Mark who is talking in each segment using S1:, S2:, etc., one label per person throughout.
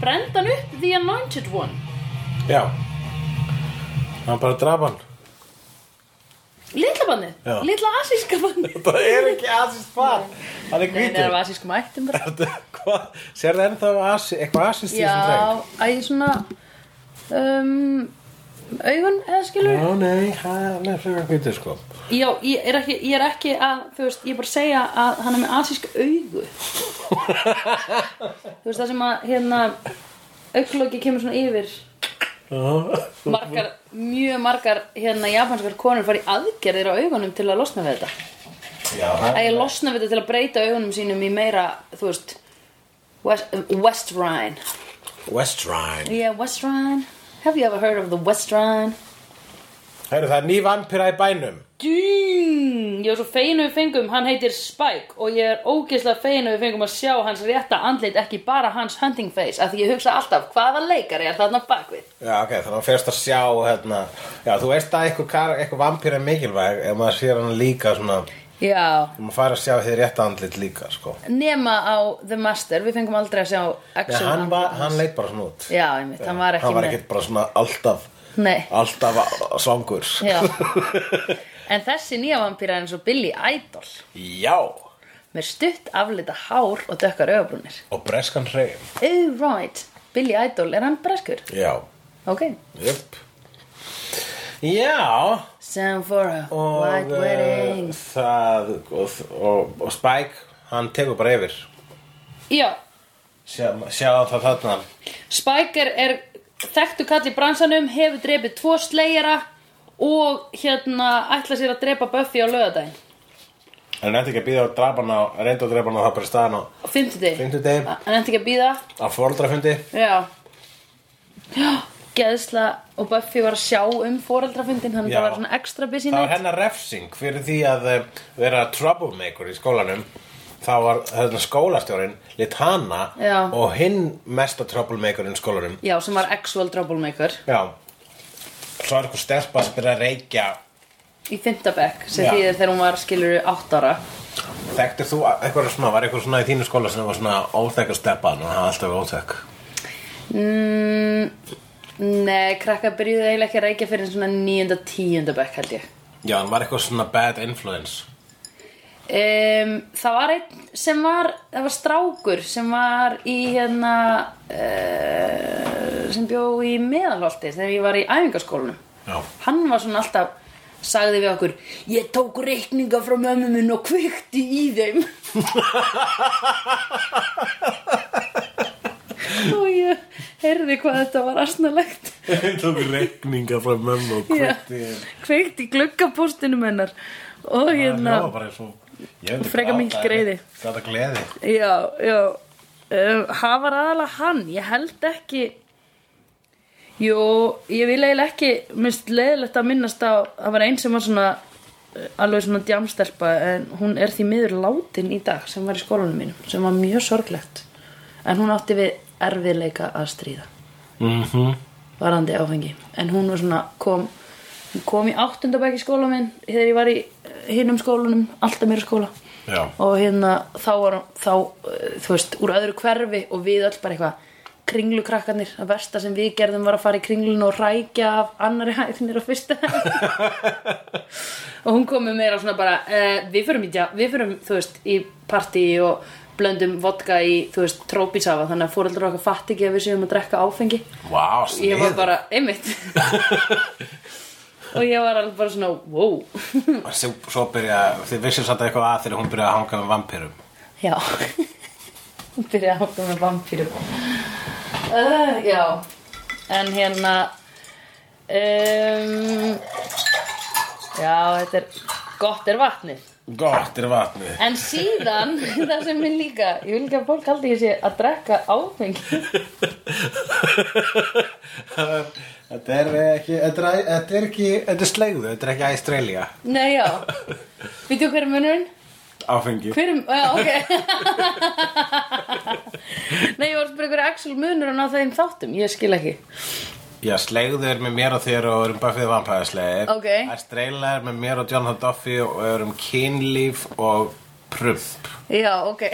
S1: brend hann upp The Anointed One
S2: Já Hann bara draf hann
S1: Litla banni,
S2: Já.
S1: litla asíska banni
S2: Það er ekki asist far Hann
S1: Nei,
S2: er
S1: það er
S2: hvítur
S1: af asískum ættum bara
S2: Hvað, sérðu ennþá asi, eitthvað asist í þessum dreng?
S1: Já, að ég svona um, augun eða skilur
S2: Já, nei, hann er frekar hvítur sko
S1: Já, ég er ekki, ég er ekki að, þú veist, ég er bara að segja að hann er með asísk augu Þú veist, það sem að, hérna, auglóki kemur svona yfir Margar, mjög margar, hérna, japanskar konur fara í aðgerðir á augunum til að losna við þetta
S2: Já,
S1: Að ég losna við þetta til að breyta augunum sínum í meira, þú veist, West, West Rhine
S2: West Rhine
S1: Yeah, West Rhine Have you ever heard of the West Rhine?
S2: Hæru, það er ný vampíra í bænum
S1: Dýn! Ég var svo fegin að við fengum, hann heitir Spike og ég er ógeðslega fegin að við fengum að sjá hans rétta andlit, ekki bara hans hunting face, af því ég hugsa alltaf, hvaða leikari er þarna bakvið?
S2: Já, ok, þannig að fyrst að sjá hérna, Já, þú veist að eitthvað, kar- eitthvað vampíra er mikilvæg ef maður sér hann líka svona ef
S1: Já.
S2: maður fær að sjá þið rétt andlit líka sko.
S1: Nema á The Master, við fengum aldrei að sjá
S2: Nei,
S1: action
S2: hann, var,
S1: andlit hans.
S2: hann leit bara svona út
S1: Já, einmitt, hann var ekki
S2: hann var
S1: með.
S2: ekkert bara svona alltaf
S1: Nei.
S2: alltaf a- svangur
S1: Já. En þessi nýja vampíra er eins og Billy Idol,
S2: Já,
S1: með stutt aflita hár og dökkar augabrúnir.
S2: og breskan hreim
S1: Oh, right. Billy Idol, er hann breskur?
S2: Já,
S1: Ok.
S2: jöp Já
S1: Sam for a
S2: og,
S1: white wedding.
S2: eh, það, og, og, og Spike hann tekur bara yfir
S1: Já,
S2: sjá, sjá það þarna
S1: Spike er, er þekktu kall í bransanum, hefur drepið tvo slegjara og hérna ætla sér að drepa Buffy á lögadaginn.
S2: hann nefndi ekki að býða að drapa hann á reynda að drapa hann og það bara staðan á
S1: Á fimmtudegi.
S2: Fimmtudegi.
S1: Hann eftir ekki að býða.
S2: á fóröldrafundi
S1: Já. Já, geðsla og Buffy var að sjá um foreldrafundin, þannig
S2: Já.
S1: það var svona ekstra busy
S2: það var
S1: night.
S2: hennar refsing fyrir því að eh, vera troublemaker í skólanum þá var þarna skólastjórin lit hana
S1: Já.
S2: og hinn mesta troublemakerinn í skólanum
S1: Já, sem var actual troublemaker
S2: já svo er eitthvað stelpa sem byrja að reykja
S1: í fimmtabekk, sem
S2: Já.
S1: þýðir þegar hún var skilur átt ára.
S2: þekktir þú eitthvað svona var eitthvað svona í þínu skóla sem var svona óþekk að stelpa hann og hann var alltaf óþekk
S1: Mm, nei, krakka byrjuði eiginlega ekki að reykja fyrir en svona níunda, tíunda bekk held ég.
S2: Já, hann var eitthvað svona bad influence
S1: Um, það var einn sem var, það var strákur sem var í hérna, uh, sem bjó í meðalholti þegar ég var í æfingaskólanum.
S2: Já.
S1: Hann var svona alltaf, sagði við okkur, ég tók reikninga frá mömmu minn og kveikti í þeim. og ég heyrði hvað þetta var asnalegt.
S2: Tók reikninga frá mömmu og
S1: Já. Kveikti í gluggapóstinum hennar. Og hérna...
S2: Það var bara svo ég veit ekki
S1: Frekar
S2: hvað
S1: mikill
S2: það er.
S1: greiði.
S2: Það er gleði
S1: Já, já um, Það var aðalega hann Ég held ekki Jú, ég vil eiginlega ekki minnst leiðilegt að minnast á það var einn sem var svona uh, alveg svona djamstelpa en hún er því miður látin í dag sem var í skólanum mínum sem var mjög sorglegt en hún átti við erfiðleika að stríða
S2: mm -hmm.
S1: varandi áfengi en hún var svona kom, hún kom í áttundabæk í skóla minn þegar ég var í hinnum skólanum alltaf mér skóla
S2: Já.
S1: og hérna þá var þá, eh, þú veist, úr öðru hverfi og við öll bara eitthvað kringlukrakkarnir, að versta sem við gerðum var að fara í kringlun og rækja af annari hæðinir á fyrsta hæð og hún kom með meira svona bara uh, við förum í, dja- við förum, þú veist, í partí og blöndum vodka í, þú veist, trópisafa, þannig að fóreldur okkar fatt ekki að við séum að drekka áfengi
S2: Vá,
S1: ég var
S2: sniður
S1: bara, einmitt og ég var alveg bara svona wow,
S2: Svo, svo byrja, þið vissir samt eitthvað að þegar hún byrjaði að hanga um með vampýrum
S1: já hún byrjaði að hanga með vampýrum uh, já en hérna um, já, þetta er gott er vatnið
S2: Gott er vatni
S1: en síðan, það sem er líka ég vil ekki að fólk haldi ég sé að drekka áfengi
S2: Þetta er ekki Þetta er, þetta er ekki, þetta er slegðu Þetta er ekki Australia
S1: nei já, veitu hver er munurinn?
S2: Áfengi
S1: Hverjum, já, ok Nei, ég var að spyrja hverju Axel munur hann á þeim þáttum, ég skil ekki
S2: Já, slegðu er með mér og þér og erum Buffy the Vampire Slayer
S1: Ok.
S2: Australia er með mér og Jonathan Duffy og erum kynlíf og prump
S1: Já, ok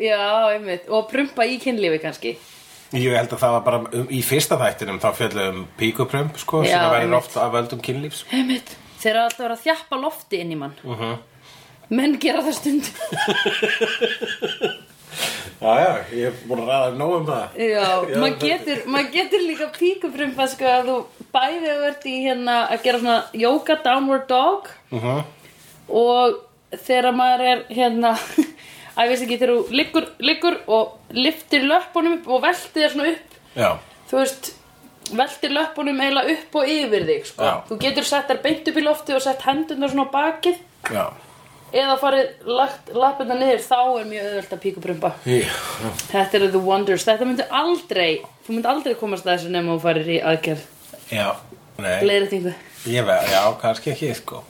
S1: já, einmitt og prumpa í kynlífi kannski
S2: Ég held að það var bara um, í fyrsta þættinum þá fjöllum um píkuprömp sko,
S1: Já,
S2: sem að verður
S1: einmitt.
S2: oft af völdum kynlífs
S1: einmitt, þeir eru alltaf að vera að þjappa lofti inn í mann menn gera það stund
S2: Já, já, ég er búin að ræða nóg um það
S1: já, maður getur, mað getur líka píkuprumpa sko að þú bæði að verði í hérna að gera svona yoga downward dog
S2: Mhm.
S1: og þegar maður er hérna að ég veist ekki þegar þú liggur, liggur og liftir löppunum upp og veltir þér svona upp
S2: Já,
S1: þú veist veltir löppunum eiginlega upp og yfir þig sko.
S2: Já.
S1: þú getur sett þær beint upp í lofti og sett hendurnar svona á bakið
S2: já
S1: eða farið lagt lappirna niður þá er mjög auðvelt að píkubrumba
S2: Já,
S1: þetta eru the wonders, þetta myndi aldrei þú myndi aldrei komast að þessu nema þú farir í aðgerð
S2: já nei
S1: leiðréttingu
S2: Ég veið, já, kannski ekki, sko.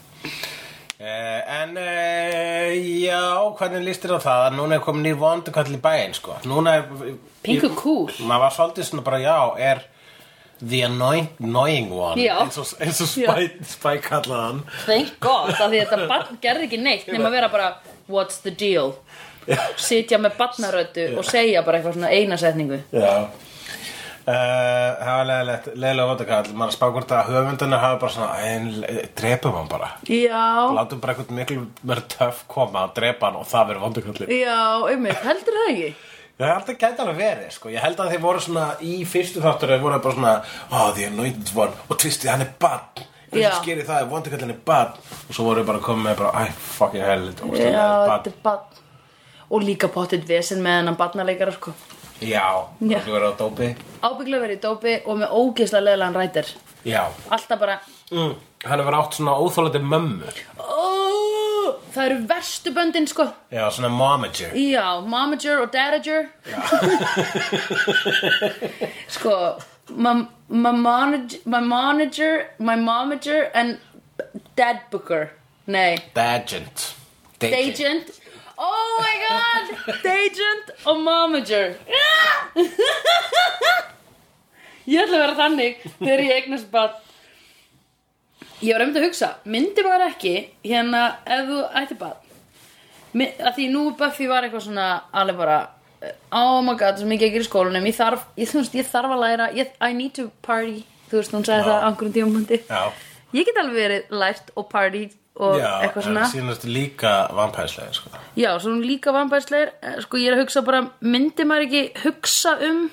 S2: Uh, en, uh, já, hvernig lístir á það að núna er komin í vondukall í bæinn, sko. Núna er...
S1: pingu
S2: ég-
S1: cool
S2: Maður var svolítið svona bara, já, er the annoying, annoying one.
S1: Já.
S2: Eins og, eins og
S1: Já.
S2: spæ, spæ kallaði hann.
S1: Thank God, af því þetta barn gerði ekki neitt nema að vera bara, what's the deal sitja með barnarötu og segja bara eitthvað svona eina setningu
S2: Já. Uh, það var leðilegt, leðilega vondukall. Maður spá hvort að höfundunni hafa bara svona, en, drepum hann bara.
S1: Já,
S2: Látum bara eitthvað miklu mér töff koma að drepa hann og það verður vondukallin.
S1: já, einmitt, heldur það ekki?
S2: Ég held að gæti alveg verið, sko. Ég held að þeir voru svona í fyrstu þáttur þeir voru bara svona, oh, the anointed one og tvistið, hann er barn.
S1: Já.
S2: Þessi skeri það, vondikallin er barn. Og svo voru þeir bara komið með bara, æ, fucking hell, þetta
S1: Já,
S2: óstæðlega er
S1: þetta er
S2: barn.
S1: barn Og líka pottitt vesen með hennan barnarleikara sko
S2: Já,
S1: Já.
S2: þú verður á dópi.
S1: Ábygglega verið í dópi og með ógeðslega leðilegan rætir
S2: Já.
S1: Alltaf bara
S2: Mm. Hann hefur átt svona óþólandi mömmu.
S1: oh, Það eru verstu böndin sko
S2: Já, svona momager.
S1: Já, momager og dadager Sko my, my, manager, my manager My momager and dad booker Nei,
S2: Dagent.
S1: dagent Oh my god Dagent og momager Ég ætla að vera þannig Þegar ég eignast bara Ég var um að hugsa Myndi maður ekki Hérna ef þú ætti bara að því nú Buffy var eitthvað svona alveg bara eh, oh my god, svo mikið ekki í skólanum ég þarf, ég, þú veist, ég þarf að læra ég, I need to party, þú veist, hún sagði
S2: Já.
S1: það á einhverjum tímamundi
S2: Já.
S1: ég get alveg verið lært og party og
S2: Já,
S1: eitthvað
S2: en
S1: svona
S2: sínast líka vampærslega, sko.
S1: já, svo hún líka vampærsleir sko ég er að hugsa bara, myndi maður ekki hugsa um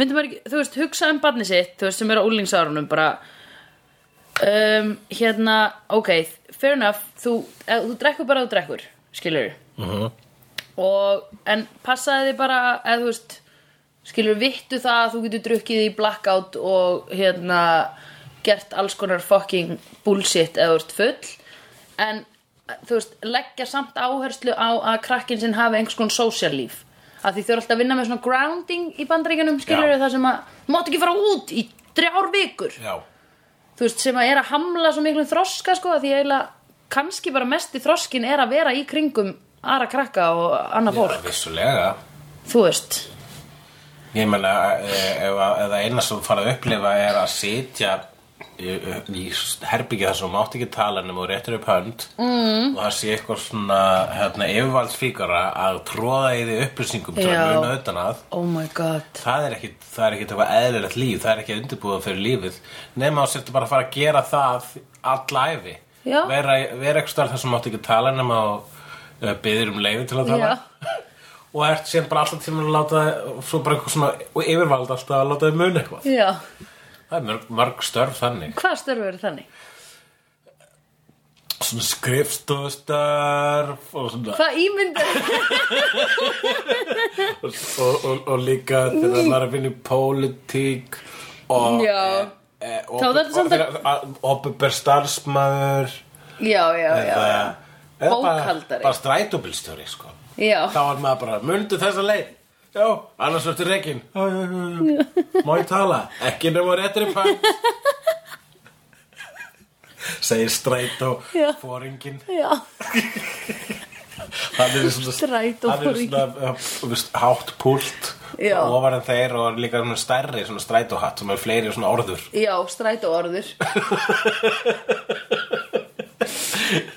S1: myndi maður ekki, þú veist, hugsa um barni sitt þú veist, sem er á úlingsárunum bara um, hérna, ok fair enough, þú, eh, þú drekkur bara þú drekkur, skilur
S2: Mm -hmm.
S1: og, en passaði þið bara eða þú veist skilur vittu það að þú getur drukkið í blackout og hérna gert alls konar fucking bullshit eða þú veist full en þú veist, leggja samt áherslu á að krakkin sinn hafi einhvers konar sósjallíf að því þau eru alltaf að vinna með svona grounding í bandaríkjanum skilur
S2: Já.
S1: það sem að þú mátt ekki fara út í þrjár vikur
S2: Já.
S1: þú veist, sem að er að hamla svo miklum þroska sko, að því eiginlega kannski bara mesti þroskin er að vera í kringum aðra krakka og annað fólk
S2: Já, vissulega.
S1: þú veist
S2: Ég meina, eh, ef að- ef það eina sem þú farið að upplifa er að sitja í, í herbyggja þar sem þú mátt ekki tala nema og réttir upp hönd mm. og það sé eitthvað svona hérna, yfirvaldsfíkara að tróða í því upplýsingum til að
S1: Já.
S2: muna utan að
S1: oh my god
S2: það er ekkit, það er ekkit eitthvað eðlilegt líf það er ekki undirbúða fyrir lífið nema þú sértu bara að fara að gera það all æfi
S1: Já.
S2: vera, vera eitthvað starf þar sem þú mátt ekki tala nema og uh, byðir um leiði til að tala
S1: Já.
S2: og ert síðan bara alltaf tíma að láta svo bara eitthvað svona og yfirvald alltaf að láta þið muna eitthvað
S1: já,
S2: það er mörg, mörg störf þannig
S1: hvað störfur eru þannig?
S2: svona skrifstofstörf og svona
S1: hvað ímyndar
S2: og, og, og líka þegar maður er að vinna í pólitík og
S1: Já.
S2: e, e,
S1: Þá þarftu samt að-
S2: opuber starfsmæður
S1: já, já, já,
S2: eða, eða bara,
S1: Bókhaldari.
S2: bara strætóbílstjóri sko.
S1: já.
S2: þá er maður bara, mundu þessa leið já, annars verður reikin má ég tala ekki nema réttri pönt segir strætó
S1: Já.
S2: fóringin
S1: já.
S2: hann er svona
S1: Strætó
S2: hann er
S1: fóringi.
S2: svona uh, þú veist, hátt púlt
S1: Já.
S2: og ofar en þeir og er líka svona stærri svona strætóhatt sem er fleiri svona orður
S1: já strætó orður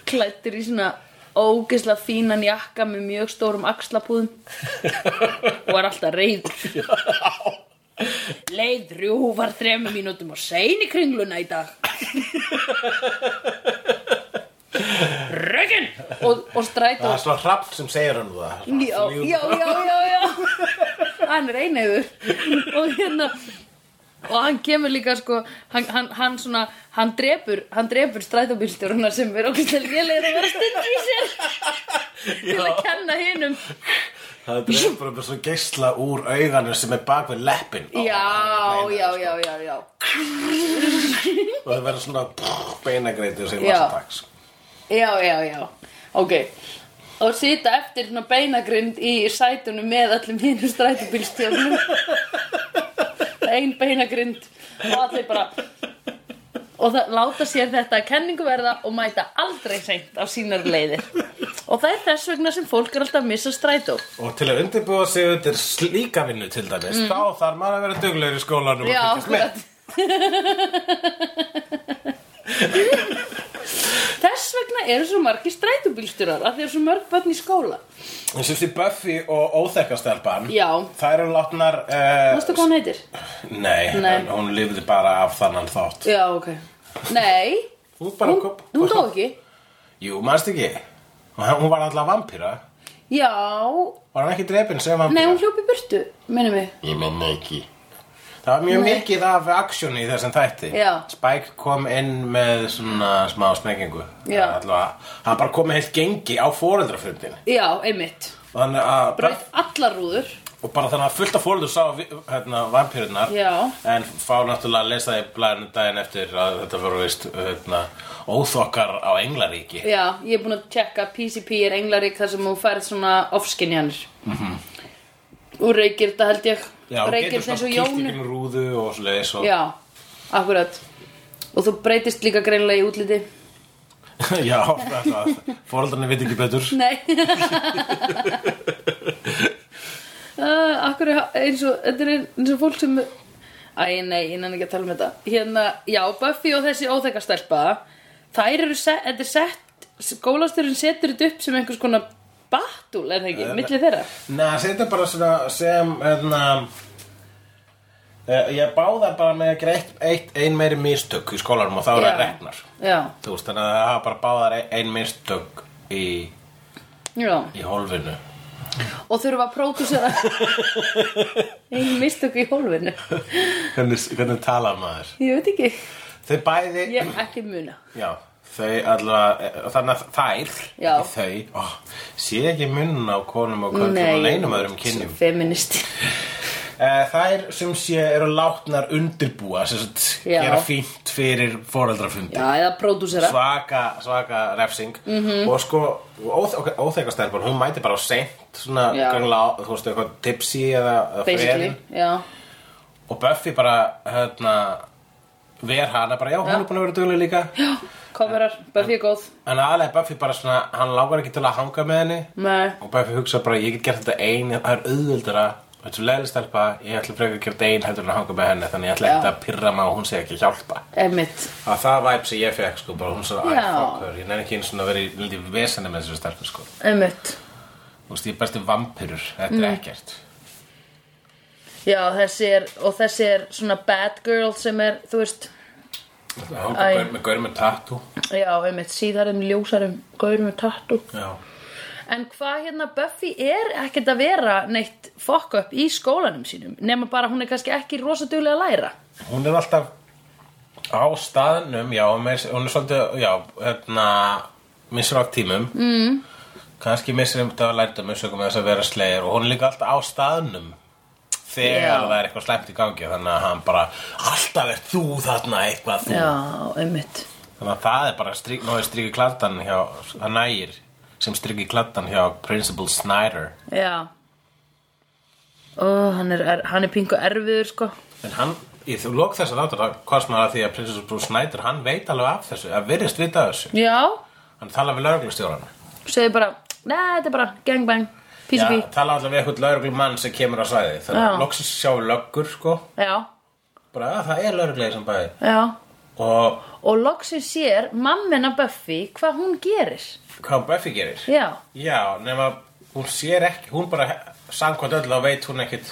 S1: klættir í svona ógislega fínan jakka með mjög stórum axlapúðum og er alltaf reyður leið rjúfar þremur mínútum og sein í kringluna í dag röggin og, og strætó
S2: Það er svona hrapp sem segir hann það
S1: já,
S2: Hrafn, jú.
S1: já, já, já, já hann er einhefur og hérna og hann kemur líka sko hann, hann, hann svona, hann drepur hann drepur strætóbílstjóruna sem er okkur stel lélegir að vera stund í sér til að kenna hinum
S2: Það er bara með svona geisla úr auganu sem er bak við leppin
S1: já, já, já,
S2: sko.
S1: já, já
S2: Og það verður svona pff, beinagreitur sem
S1: Já.
S2: vassataks
S1: já, já, já, ok og sita eftir svona beinagrind í sætunum með öllum hinum strætóbílstjórnum ein beinagrind og allir bara og það láta sér þetta að kenningu verða og mæta aldrei seint á sínar leiðir og það er þess vegna sem fólk er alltaf að missa strætó
S2: Og til að undirbúa sig undir slíka vinnu til dæmis Þá þarf maður að vera duglegur í skólanum
S1: Mm.
S2: og
S1: já,
S2: fylgjast með.
S1: akkurat þess vegna eru svo margir strætóbílstjórar að þeir eru svo mörg börn í skóla
S2: Ég syns í Buffy og óþekkastelpan
S1: Já.
S2: Það eru látnar uh,
S1: veistu hvað hann heitir?
S2: Nei,
S1: Nei.
S2: En hún lifði bara af þannan þátt
S1: já, ok nei,
S2: Hún bara
S1: hún,
S2: kom-
S1: hún dó ekki
S2: Jú, manst ekki Hún var alltaf vampíra
S1: já,
S2: Var hann ekki drepin sem vampíra?
S1: nei, hún hljóp í burtu minnum við
S2: Ég menna ekki Það var mjög mikið af aksjón í þessum þætti
S1: Já.
S2: Spike kom inn með svona smá smekkingu
S1: Já.
S2: Allavega, Hann bara kom með heilt gengi á foreldrafundin
S1: já, einmitt
S2: Og þannig að
S1: bröð allar rúður
S2: Og bara þannig að fullt af fólður sá vi- hérna, vampírunar
S1: Já.
S2: En fá náttúrulega að lesa í blæðinu daginn eftir að þetta voru veist hérna, óþokkar á Englaríki
S1: Já, ég er búin að tjekka PCP er englarík þar sem þú færð svona offskinjanir mm -hmm. og reykir þetta held ég
S2: Mhm. Já, og
S1: reykir
S2: getur
S1: þess
S2: svona
S1: og
S2: kýrt í
S1: jónu
S2: gegnum rúðu og svoleiðis og...
S1: Já, akkurat og þú breytist líka greinlega í útliti
S2: Já, þetta, foreldrarnir veit ekki betur
S1: Nei uh, Akkur eins og þetta er eins og fólk sem Æ, nei, ég nenni ekki að tala um þetta Hérna, já, Buffy og þessi óþekastelpa Þær eru sett, þetta er sett Skólastyrun setur þetta upp sem einhvers konar battle, er það ekki,
S2: Eh,
S1: milli þeirra
S2: Nei, þetta er bara svona sem hérna, eh, ég báða bara með að gera eitt, eitt ein meiri mistök í skólanum og þá
S1: Já.
S2: eru það reknar
S1: Já,
S2: Þú veist, þannig að það hafa bara báðar ein, ein mistök í,
S1: já
S2: í hólfinu
S1: Og þurfa að pródúsera Einu mistök í hólfinu
S2: Hvernig, hvernig tala maður?
S1: Ég veit ekki
S2: Þau bæði
S1: Ég ekki muna
S2: Já, þau allavega, þannig að þær
S1: Já.
S2: ekki Þau, ó, sé ekki munn á konum og konum og neinum öðrum um kynjum
S1: Feminist
S2: Eh, Þær sem sé eru látnar undirbúa, sem sagt,
S1: Já.
S2: gera fínt fyrir foreldrafundi
S1: Já, eða pródúsera
S2: svaka, svaka refsing
S1: Mhm.
S2: og sko, óþekastelpan hún mæti bara á seint svona
S1: Já.
S2: gangla, þú veist, eitthvað tipsy eða, eða
S1: Basically,
S2: freðin
S1: já
S2: og Buffy bara, hérna ver hana bara, já, hún er búin að vera duglega líka já.
S1: Coverar, Buffy er góð
S2: en aðalega Buffy bara svona, hann lágar ekki til að hanga með henni
S1: Nei,
S2: og Buffy hugsa bara, ég get gert þetta ein en það er auðvöldara Þetta er leðlega stelpa, ég ætla frekar að gera þetta ein heldur en að hanga með henni þannig ég ætla
S1: Já.
S2: ekki að pyrra maður og hún sé ekki að hjálpa
S1: emmitt
S2: að það væp sem ég fekk sko bara hún svo að
S1: Já.
S2: fuck her ég nefn ekki einu svona að vera í lítið veseni með þessu stelpu sko
S1: Emmitt
S2: þú veist ég er besti vampyrur þetta
S1: Mm.
S2: er ekkert
S1: Já, þessi er, og þessi er svona bad girl sem er, þú veist
S2: hún
S1: Æ.
S2: gaur með gaur með tattu
S1: Já, emmitt, síðarum, ljósarum, gaurum og tattu
S2: já
S1: En hvað hérna Buffy er ekkert að vera neitt fuck up í skólanum sínum nema bara hún er kannski ekki rosaduglega að læra
S2: hún er alltaf á staðnum já hún er, hún er svolítið já hérna missur á tímum mm. kannski missur um þetta að lærta um sögum með þess að vera slegir og hún er líka alltaf á staðnum þegar
S1: Já.
S2: það er eitthvað slæmt í gangi þannig að hann bara alltaf er þú þarna eitthvað þú
S1: Já, einmitt
S2: Þannig að það er bara strik, náður strikki kladdan hjá, það nægir sem strikki kladdan hjá Principal Snyder.
S1: Já Ó, hann er, er, hann er pingu erfiður sko
S2: En hann, í þú lók þess að þáttur, það komst maður að því að Principal Snyder, hann veit alveg af þessu, að virðist vita af þessu.
S1: Já,
S2: Hann tala við lauruglustjóran.
S1: segir bara Nei, þetta er bara gangbang,
S2: Já,
S1: PCP
S2: tala allavega við eitthvað lauruglumann sem kemur á svæði. Þannig
S1: Já.
S2: að loksins sjáum löggur, sko,
S1: Já,
S2: bara að það er lauruglega sem bæði.
S1: já,
S2: Og og
S1: og loksins sér mammina Buffy hvað hún gerir
S2: hvað Buffy gerir
S1: já,
S2: Já, nema hún sér ekki, hún bara samkvæmt öll þá veit hún ekkit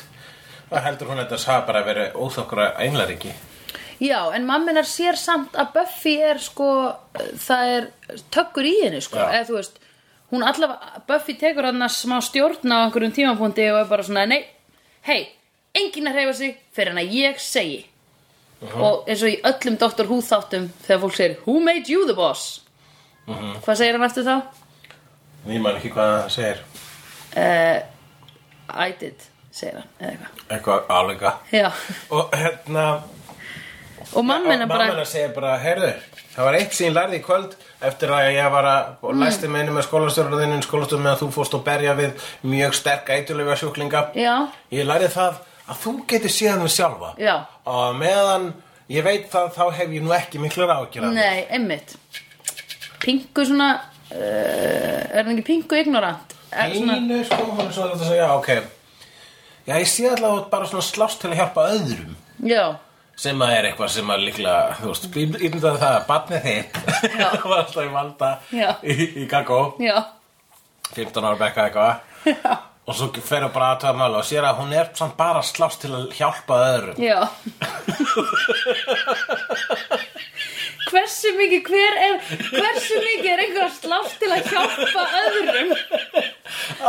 S2: þá heldur hún að þetta hafa bara verið óþokkra englaringi
S1: já, en mamminar sér samt að Buffy er sko það er tökkur í henni sko,
S2: Já.
S1: eða þú veist hún allavega, Buffy tekur hann að smá stjórn á einhverjum tímapunkti og er bara svona nei, hei, enginn að hreyfa sig fyrir hann að ég segi og eins og í öllum Dr. Who þáttum þegar fólk segir, who made you the boss hvað segir hann eftir þá?
S2: Ég man ekki hvað það segir
S1: I did, segir hann, eða eitthvað
S2: eitthvað álega
S1: já,
S2: og hérna
S1: og mammina bara
S2: mamma segir bara, heyrðu það var eitt sem ég lærði í kvöld eftir að ég var að
S1: Mm.
S2: og læsti með einu með skólastjórnarðinu skólastjórn með að þú fórst og berja við mjög sterk eitulega sjúklinga
S1: Já.
S2: ég lærði það að þú getur séð hann sjálfa
S1: Já.
S2: og meðan ég veit það þá hef ég nú ekki miklu rákjur
S1: Nei, einmitt Pingu svona uh, Er hann ekki pingu ignorant? Er svona,
S2: Einu sko, hún er svona þetta að segja, já, ok Já, ég sé allavega bara svona slást til að hjálpa öðrum
S1: já,
S2: sem að er eitthvað sem að líklega, þú veist, ímyndaði það að barnið þitt
S1: Já.
S2: var alltaf í valda
S1: Já.
S2: í, í kakó,
S1: já,
S2: 15 ára bekka eitthvað og svo fer að bara aðtöða mála og sér að hún er samt bara að slást til að hjálpa öðrum
S1: já Hversu mikið hver er Hversu mikið er einhver að slást til að hjálpa öðrum?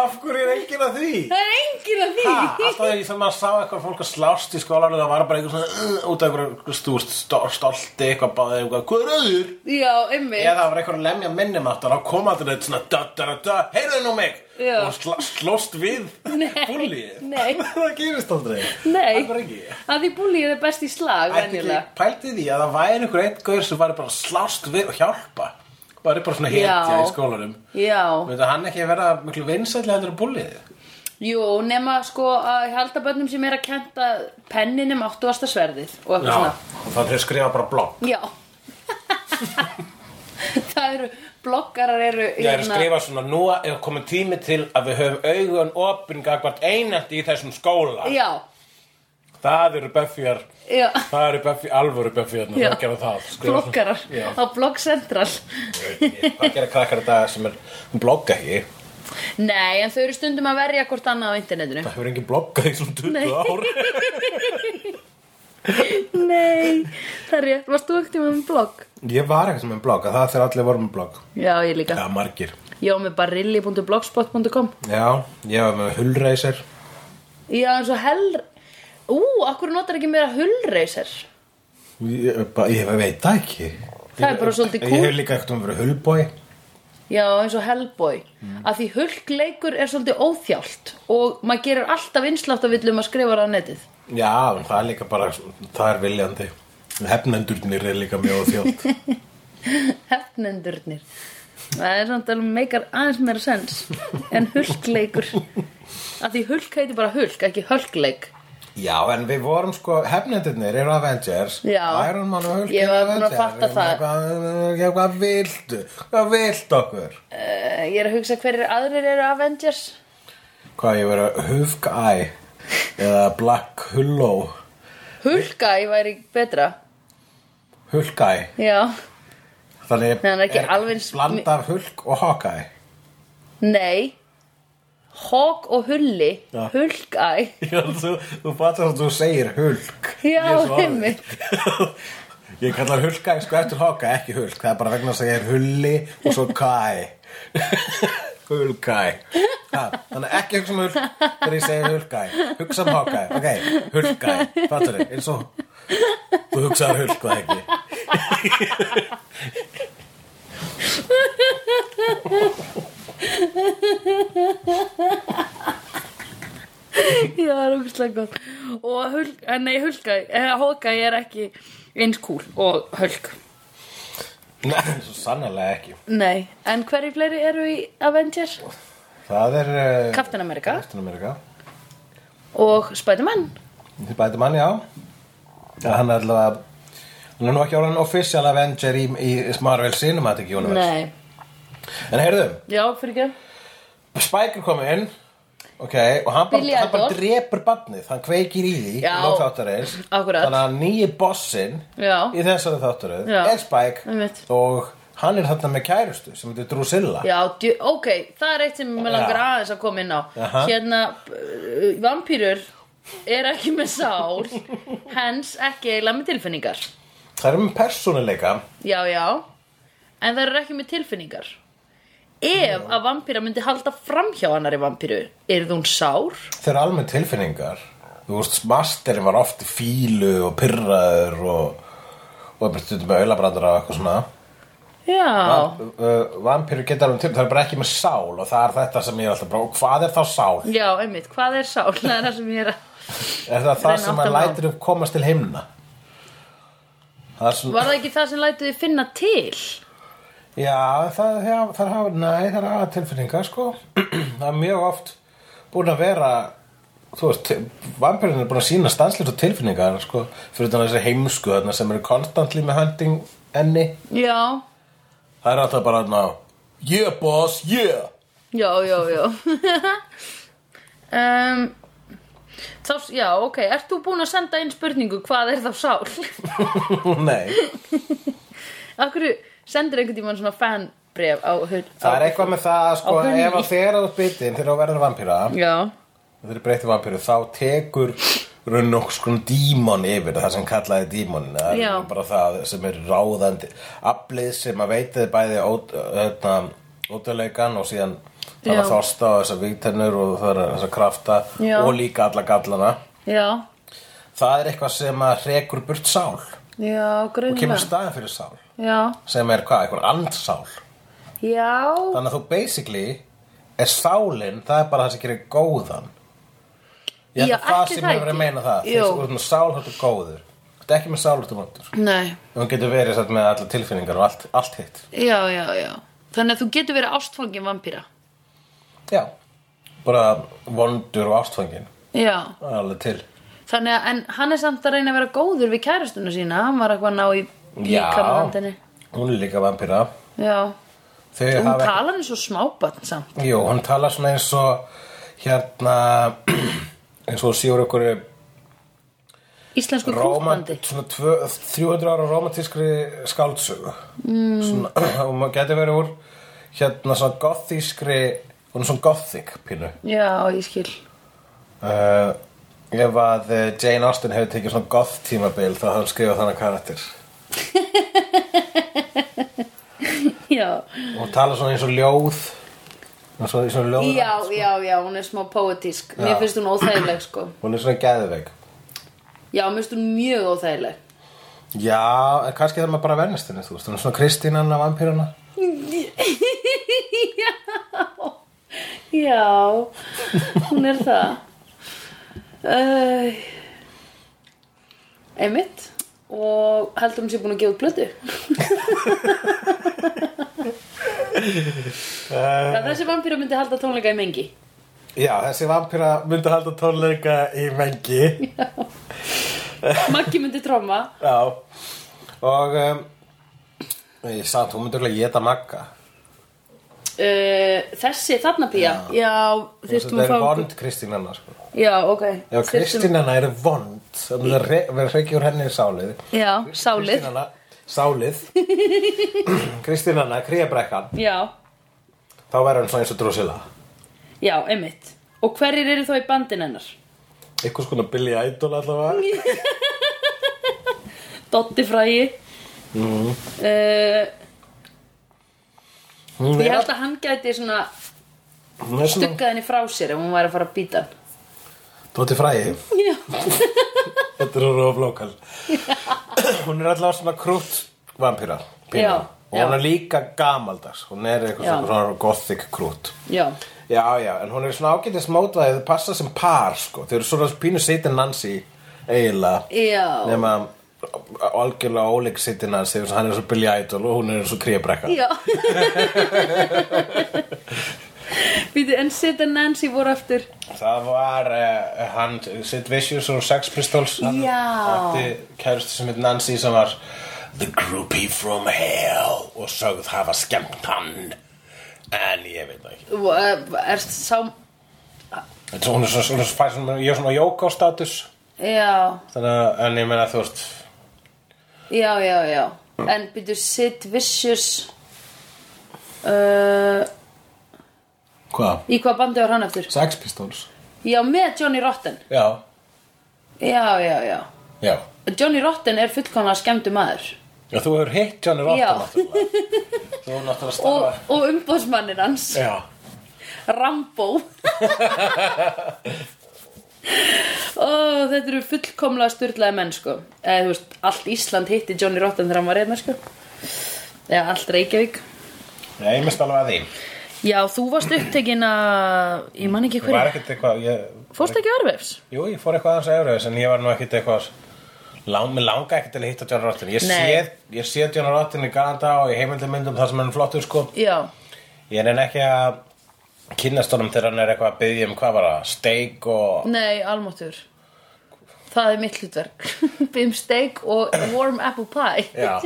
S2: Af hverju er enginn að því?
S1: Það er enginn að því
S2: Ha, alltaf þegar ég sem að sá eitthvað fólk að slást í skólanum það var bara eitthvað svona uh, út af eitthvað stúrst stolti eitthvað báðið eitthvað hvað er öður?
S1: Já, einmitt
S2: eða það var eitthvað að lemja minnumáttan og kom að þetta svona da, da, da, da, heyrðu nú mig
S1: Já.
S2: og sl slóst við
S1: Nei,
S2: búlið
S1: nei.
S2: það gerist aldrei
S1: Nei,
S2: það var ekki
S1: að því búlið er best í slag
S2: Ætli
S1: venjulega.
S2: ekki pælti því að það væri einhver einn gaur sem var bara að slást við og hjálpa bara bara svona hetja
S1: Já.
S2: í skólanum
S1: Já,
S2: veit að hann ekki að vera miklu vinsætli heldur en búlið
S1: jú, nema sko að halda bönnum sem er að kenta penninum áttúasta sverðið og eitthvað svona
S2: og þannig að skrifa bara blogg
S1: Já Það eru, bloggarar eru hérna-
S2: Ég er að skrifa svona, nú er komin tími til að við höfum augun opin gagvart einandi í þessum skóla.
S1: Já,
S2: Það eru Buffyar
S1: já
S2: Það eru Buffy, alvöru Buffy hérna,
S1: Já.
S2: það gerða það skrifa-
S1: Bloggarar
S2: Já.
S1: á Blog Central
S2: Hvað gera krakkar þetta sem er hún blogga ekki?
S1: Nei, en þau eru stundum að verja hvort annað á internetinu
S2: Það hefur engin bloggað í svona 20
S1: Nei.
S2: ár
S1: Nei, það er rétt, varst þú ekkert með blogg?
S2: Ég var ekki sem en blogg, það þegar allir voru með blogg
S1: Já, ég líka
S2: Já, margir
S1: Já, með barilli.blogspot.com
S2: Já, ég var með hullreiser
S1: Já, eins og hell Ú, akkur notar ekki meira hullreiser
S2: Ég, bara- ég veit það ekki
S1: Það er bara svolítið
S2: Ég
S1: kúl.
S2: hef líka ekkert um verið hullbói
S1: Já, eins og Hellboy mm. að því hulkleikur er svolítið óþjált og maður gerir alltaf vinslátt að villum að skrifa það á netið
S2: Já, en það er líka bara, það er viljandi Hefnendurnir er líka mjög þjótt
S1: hefnendurnir það er samt alveg meikar aðeins meira sens en hulkleikur að því hulk heiti bara hulk ekki hulkleik
S2: Já, en við vorum sko, hefnendurnir eru Avengers
S1: Já.
S2: Iron Man og Hulk
S1: Ég
S2: eru
S1: var búin að
S2: Avengers.
S1: fatta
S2: Við
S1: það.
S2: erum eitthvað- Já, hvað viltu? Hvað vilt okkur?
S1: uh, ég er að hugsa hverjir aðrir eru Avengers
S2: Hvað ég verið að Hufgæ eða Black Hullo
S1: hulka ég væri betra
S2: Hulgæ
S1: já,
S2: Þannig
S1: Nei, hann er ekki alveg eins-
S2: blanda af Hulk og Hawkæ
S1: nei Hawk og Hulli
S2: Já.
S1: hulkæ
S2: Þú, þú fattar að þú segir Hulk
S1: Já,
S2: Ég er svo orðið.
S1: einmitt.
S2: Ég kallar Hulgæ sko eftir Hawkæ ekki Hulk Það er bara vegna þess að ég er Hulli og svo Kæ Hulgæ Ha, Þannig ekki hugsa um Hulk þegar ég segi Hulgæ Hugsa um Hawkæ, ok, Hulgæ Fattar þau, eins og Þú hugsaðar Hulk, hvað ekki
S1: Já, það er ógustlega gott Og hulk, eh, nei, hulka, eh, hóka er ekki eins kúl og hulk
S2: Nei, svo sannlega ekki
S1: Nei, en hverju fleiri eru í Avengers?
S2: Það er uh,
S1: Captain America
S2: Captain America
S1: og Spiderman
S2: Spiderman, já ja, Hann er allavega Hann er nú ekki orðin official Avenger í, í Marvel Cinematic Universe
S1: Nei,
S2: En heyrðu,
S1: já, fyrir ekki
S2: Spike er komið inn Ok, og hann bara,
S1: Billy
S2: hann bara
S1: Idol.
S2: drepur barnið, hann kveikir í því
S1: Já.
S2: í lok þáttarins.
S1: Akkurat.
S2: Þannig að nýji bossinn
S1: Já.
S2: í þessari þáttarins
S1: Já.
S2: er Spike
S1: Einmitt.
S2: og hann er þarna með kærustu sem heitir Drusilla.
S1: Já, djö, ok, það er eitt sem mér langar
S2: Já.
S1: aðeins að koma inn á
S2: Aha.
S1: Hérna, uh, vampýrur er ekki með sál Hens ekki eiginlega með tilfinningar
S2: Það er með persónuleika.
S1: Já, já En það eru ekki með tilfinningar Ef að vampýra myndi halda framhjá annari vampýru Yrði hún sár?
S2: Þeir eru almenn tilfinningar. Þú veist, masterinn var oft í fílu og pyrraður og, og bara stundum með auðlabrandara og eitthvað svona.
S1: Já,
S2: Uh, Vampýru geta alveg til, það er bara ekki með sál og það er þetta sem ég er alltaf bara, og hvað er þá sál?
S1: já, einmitt, hvað er sál? Það er það sem ég er að
S2: Er það
S1: Reyna
S2: það
S1: að
S2: sem að
S1: átta mig á.
S2: lætir upp komast til himna? Það er svona,
S1: Var það ekki það sem lætur þið finna til?
S2: já, það, já, það er hafa, nei, það er hafa tilfinningar, sko. það er mjög oft búin að vera, þú veist, vampirinn er búin að sína stanslist og tilfinningar, sko, fyrir þannig þessi heimsku þarna sem eru konstantli með hunting enni.
S1: Já,
S2: Það er alltaf bara, ná, yeah, boss, yeah.
S1: já, já, já um, Þá, já, ok, ert þú búin að senda inn spurningu hvað er þá sál?
S2: nei,
S1: Akkur sendir einhvern tímann svona fanbref á hull
S2: það er eitthvað með það, sko,
S1: Á henni.
S2: ef að þegar þú ert bitinn, þegar þú verður vampíra,
S1: Já,
S2: þegar þeir breytið vampíru þá tekur raun og skrum dímon yfir það sem kallaði dímon það
S1: Já.
S2: er bara það sem er ráðandi aflið sem að veitið bæði ód- hérna, ódöleikan og síðan þannig
S1: Já.
S2: að þorsta og þessar vígtennur og þessar krafta
S1: Já.
S2: og líka alla gallana
S1: já,
S2: það er eitthvað sem að hrekur burt sál
S1: já,
S2: og kemur
S1: greinlega
S2: staðin fyrir sál
S1: Já,
S2: sem er hvað, eitthvað andsál
S1: já,
S2: þannig að þú basically er sálinn, það er bara það sem gerir góðan ég
S1: Já,
S2: held að það
S1: ætli
S2: sem
S1: það
S2: hefur verið að
S1: ekki.
S2: meina það
S1: Jú.
S2: þegar þú ert með sál þú ert góður þú ert ekki með sál þú ert vondur
S1: nei
S2: og hún getur verið satt, með allar tilfinningar og allt, allt hitt
S1: Já, já, já Þannig að þú getur verið ástfangin vampíra
S2: já, bara vondur og ástfangin
S1: Já,
S2: Það er alveg til
S1: Þannig að, en hann er samt að reyna að vera góður við kæristuna sína, hann var eitthvað að ná í líkamlandinni.
S2: hún er líka vampíra
S1: Já,
S2: þau
S1: hún
S2: hafa
S1: talar hann svo smábann samt.
S2: Jú, hún talar svona eins og hérna eins og síður ykkur
S1: Íslensku
S2: Róma,
S1: kúkbandi.
S2: svona tvö, 300 ára romantískri skáldsögu mm. svona, og maður geti verið úr hérna svona gothískri hún er svona gothík pínu
S1: Já, ég skil.
S2: uh, ef að eh, Jane Austen hefur tekið svona goth tímabil þá hafði hann skrifað þannig karakter
S1: Já,
S2: og hún talar svona eins og ljóð eins og, eins og ljóð
S1: já, já, já, hún er smá poetísk. Mér
S2: Já.
S1: finnst hún óþægileg, sko.
S2: hún er svona geðveik
S1: Já, mér finnst hún mjög óþægileg.
S2: já, en kannski þarf maður bara að vennast henni þú veist, hún er svona Kristínanna vampírana
S1: Já, hún er það. Uh, einmitt. Og heldur hún sé búin að gefa út blödu?
S2: uh,
S1: Það þessi vampýra myndi halda tónleika í mengi
S2: já, þessi vampíra myndi halda tónleika í mengi
S1: Maggi myndi tromma
S2: Já Og um, Ég samt, hún myndi örugglega geta magga
S1: uh, Þessi þarna pía Já, þyrstum að
S2: Þetta er
S1: fá
S2: vond Kristín hennar sko.
S1: Já, ok
S2: Ef
S1: Þyrftum-
S2: Kristín hennar er vond Það myndi að re- vera hreikja úr henni í sálið
S1: Já,
S2: Kristín
S1: sálið
S2: hennar Sálið Kristín hennar, kríabrekkan
S1: Já,
S2: Þá verður hann svona eins og drosila
S1: já, einmitt Og hverjir eru þá í bandin hennar?
S2: Eitthvað skona Billy Idol allavega
S1: Dotti frægi mm.
S2: Hún
S1: uh, Ég
S2: er,
S1: held að hann gæti svona
S2: hún er svona
S1: Stuggað henni frá sér ef hún væri að fara að býta hann
S2: Tóti fræði
S1: Já,
S2: Þetta er rof lokal Hún er allavega svona krútt vampíra pínu.
S1: Já,
S2: Og hún
S1: já.
S2: er líka gamaldags Hún er
S1: Já.
S2: eitthvað svona gothic krútt
S1: já,
S2: Já, já, en hún er svona ágætis mótvæðið, þau passa sem par, sko. Þau eru svona pínu sitin Nancy, eiginlega.
S1: já.
S2: Nefna algjörlega óleik sitin Nancy, þess að hann er svo Billy Idol og hún er svo kríabrekka.
S1: Já Býti, en Sid and Nancy voru aftur
S2: Það var uh, hann, Sid Vicious og Sex Pistols. hann
S1: Já.
S2: átti kærustu sem heit Nancy sem var The Groupie from Hell og sögð hafa skemmt hann. En ég veit það ekki.
S1: Erst eh, sá
S2: Þetta er svo- hún er svona, svona, svona, svona, ég er svona jóka á status
S1: já,
S2: Þannig að, en ég meina þú veist
S1: já, já, já En byrju Sid Vicious uh,
S2: Hvað?
S1: Í hvað bandi var hann eftir?
S2: Sex Pistols
S1: Já, með Johnny Rotten
S2: Já,
S1: Já, já, já
S2: já
S1: Johnny Rotten er fullkomlega skemmtu maður
S2: Já, þú hefur hitt Johnny Rotten
S1: Já.
S2: náttúrulega Þú hefur náttúrulega
S1: og,
S2: starfað
S1: og umbóðsmannir hans
S2: Já,
S1: Rambo Ó, þetta eru fullkomlega styrlaði menn sko Eða, þú veist, allt Ísland hitti Johnny Rotten þegar hann var reyna sko Eða allt Reykjavík
S2: já ég mest alveg að því
S1: Já, þú varst upptekinn að, ég man ekki
S2: Ég var
S1: hverju
S2: ekkert eitthvað ég,
S1: Fórst ekki örvefs?
S2: Jú, ég fór eitthvað aðeins að Eurovision en ég var nú ekkert eitthvað lang, Mér langa ekkert til að hitta John Rotten Ég
S1: Nei.
S2: séð, ég séð John Rotten í Kanada og í heimildamyndum þar sem hann er flottur sko
S1: Já,
S2: Ég reyna ekki að kynnast honum þegar hann er eitthvað að byggja um hvað var það Steak og
S1: nei, almáttur Það er mitt hlutverk Bim steak og warm apple pie
S2: Já.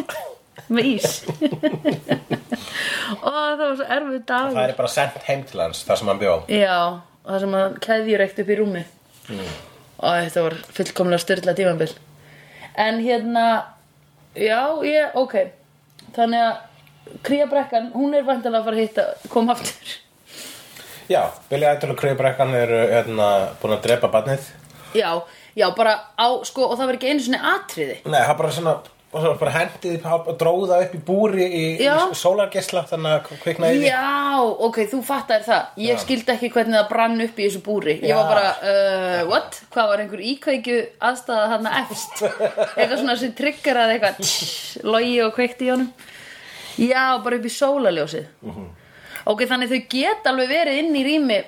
S1: Með ís Ó, það var svo erfið dagur
S2: það er bara sent heim til hans þar sem hann bjó
S1: Já, það sem hann keðjur eitt upp í rúmi
S2: Mm.
S1: og þetta var fullkomlega styrla tímambil en hérna já, ég, ok þannig að kríabrekkan, hún er vantilega að fara að hitta koma aftur
S2: Já, Billy Idol og Craig Breckan eru hérna, búin að drepa barnið
S1: já, já, bara á, sko og það var ekki einu sinni atriði
S2: Nei, það bara svona og svo bara hendið, hann dróð það upp í búri í, í
S1: Já.
S2: sólargesla þannig að kviknaði í því.
S1: já, ok, þú fattar það ég skildi ekki hvernig það brann upp í þessu búri ég
S2: Já.
S1: var bara, uh, what? hvað var einhver íkveikju aðstæða þarna efst eitthvað svona sem triggeraði eitthvað logi og kveikti í honum já, bara upp í sólaljósið
S2: Mhm.
S1: ok, þannig þau geta alveg verið inn í rými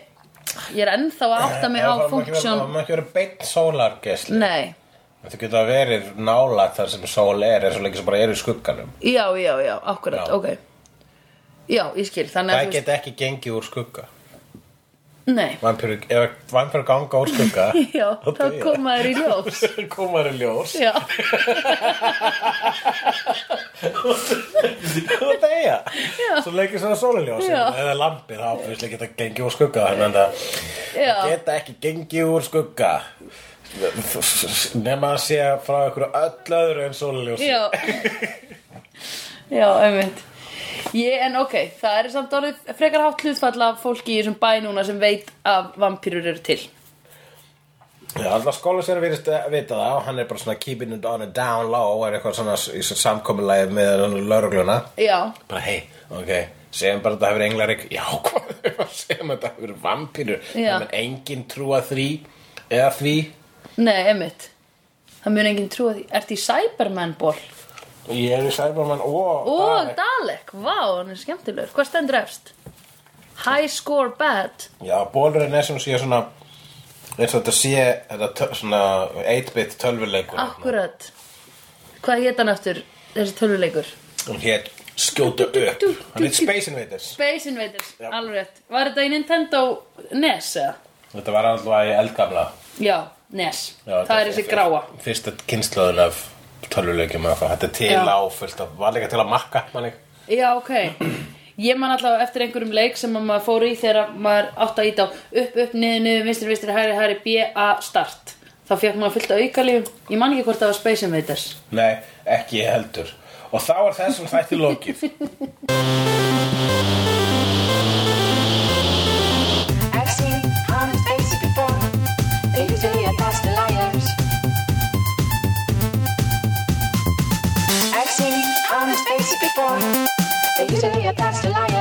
S1: ég er ennþá að átta mig á
S2: Já, það má ekki vera-
S1: funksjón
S2: það má ekki vera beint sólargesli
S1: nei,
S2: Þú getur verið nálægt þar sem sól er eins og lengi sem bara er í skugganum.
S1: já, já, já, akkurat,
S2: Já.
S1: ok já, ég skil, þannig að
S2: Það
S1: þú veist-
S2: get ekki gengið úr skugga.
S1: nei,
S2: Vampíru, ef vampíru ganga úr skugga,
S1: já,
S2: Þá
S1: þá
S2: deyja.
S1: koma þér í ljós
S2: komar í ljós.
S1: já
S2: Það er það. Svo lengi sem það er sóluljós.
S1: Já.
S2: Eða lampi, þá fyrst ekki geta gengið úr skugga. Þannig að
S1: Já.
S2: það geta ekki gengið úr skugga. Nefn að sé frá einhverju öll öðru en sóluljós.
S1: Já Já, einmitt Ég, en ok, það er samt orðið frekar hátt hlutfall af fólki í þessum bæ núna sem veit að vampýrur eru til
S2: Já, alltaf skóla sér virðist að vita það og hann er bara svona keeping it on a down low er eitthvað svona í samkomulæð með laurugluna.
S1: Já,
S2: bara hei, ok segjum bara að það hefur englarík já, hvað segjum að það hefur vampýrur
S1: Já.
S2: það mun engin trúa því eða því
S1: nei, einmitt Það mun enginn trúa því Ertu í Cyberman-ból?
S2: ég er í Cyberman og
S1: Og
S2: Dalek.
S1: Dalek, vá, hann er skemmtilegur Hvað stendur efst? High score bad
S2: já, bólurinn er sem sé svona eins og þetta sé þetta tö- svona 8-bit tölvuleikur
S1: Akkurat Hvað hétt hann aftur, þessi tölvuleikur?
S2: hún hétt skjóta upp
S1: dú, dú,
S2: hann hétt
S1: dú.
S2: Space Invaders
S1: Space Invaders,
S2: Já.
S1: alveg rétt Var þetta í Nintendo NES eða?
S2: þetta var alltaf í eldgamla
S1: Já, NES
S2: Já,
S1: Það er þessi gráa
S2: fyrsta kynnslóðin af tölvuleikjum að fá- þetta er til
S1: Já.
S2: á fullt af var líka til að makka manni
S1: Já, ok. Ég man alltaf eftir einhverjum leik sem að maður fór í þegar maður átt að íta á upp, upp, niður, niður, vinstri, vinstri, hæri, hæri, B, A, start. Þá fekk maður fullt af aukalífum. Ég man ekki hvort það var Space Invaders.
S2: Nei, ekki ég heldur Og þá er þessum þætti lokið
S3: I've seen honest faces before. They usually are past the liars. I've seen honest faces before. They usually are past the liars.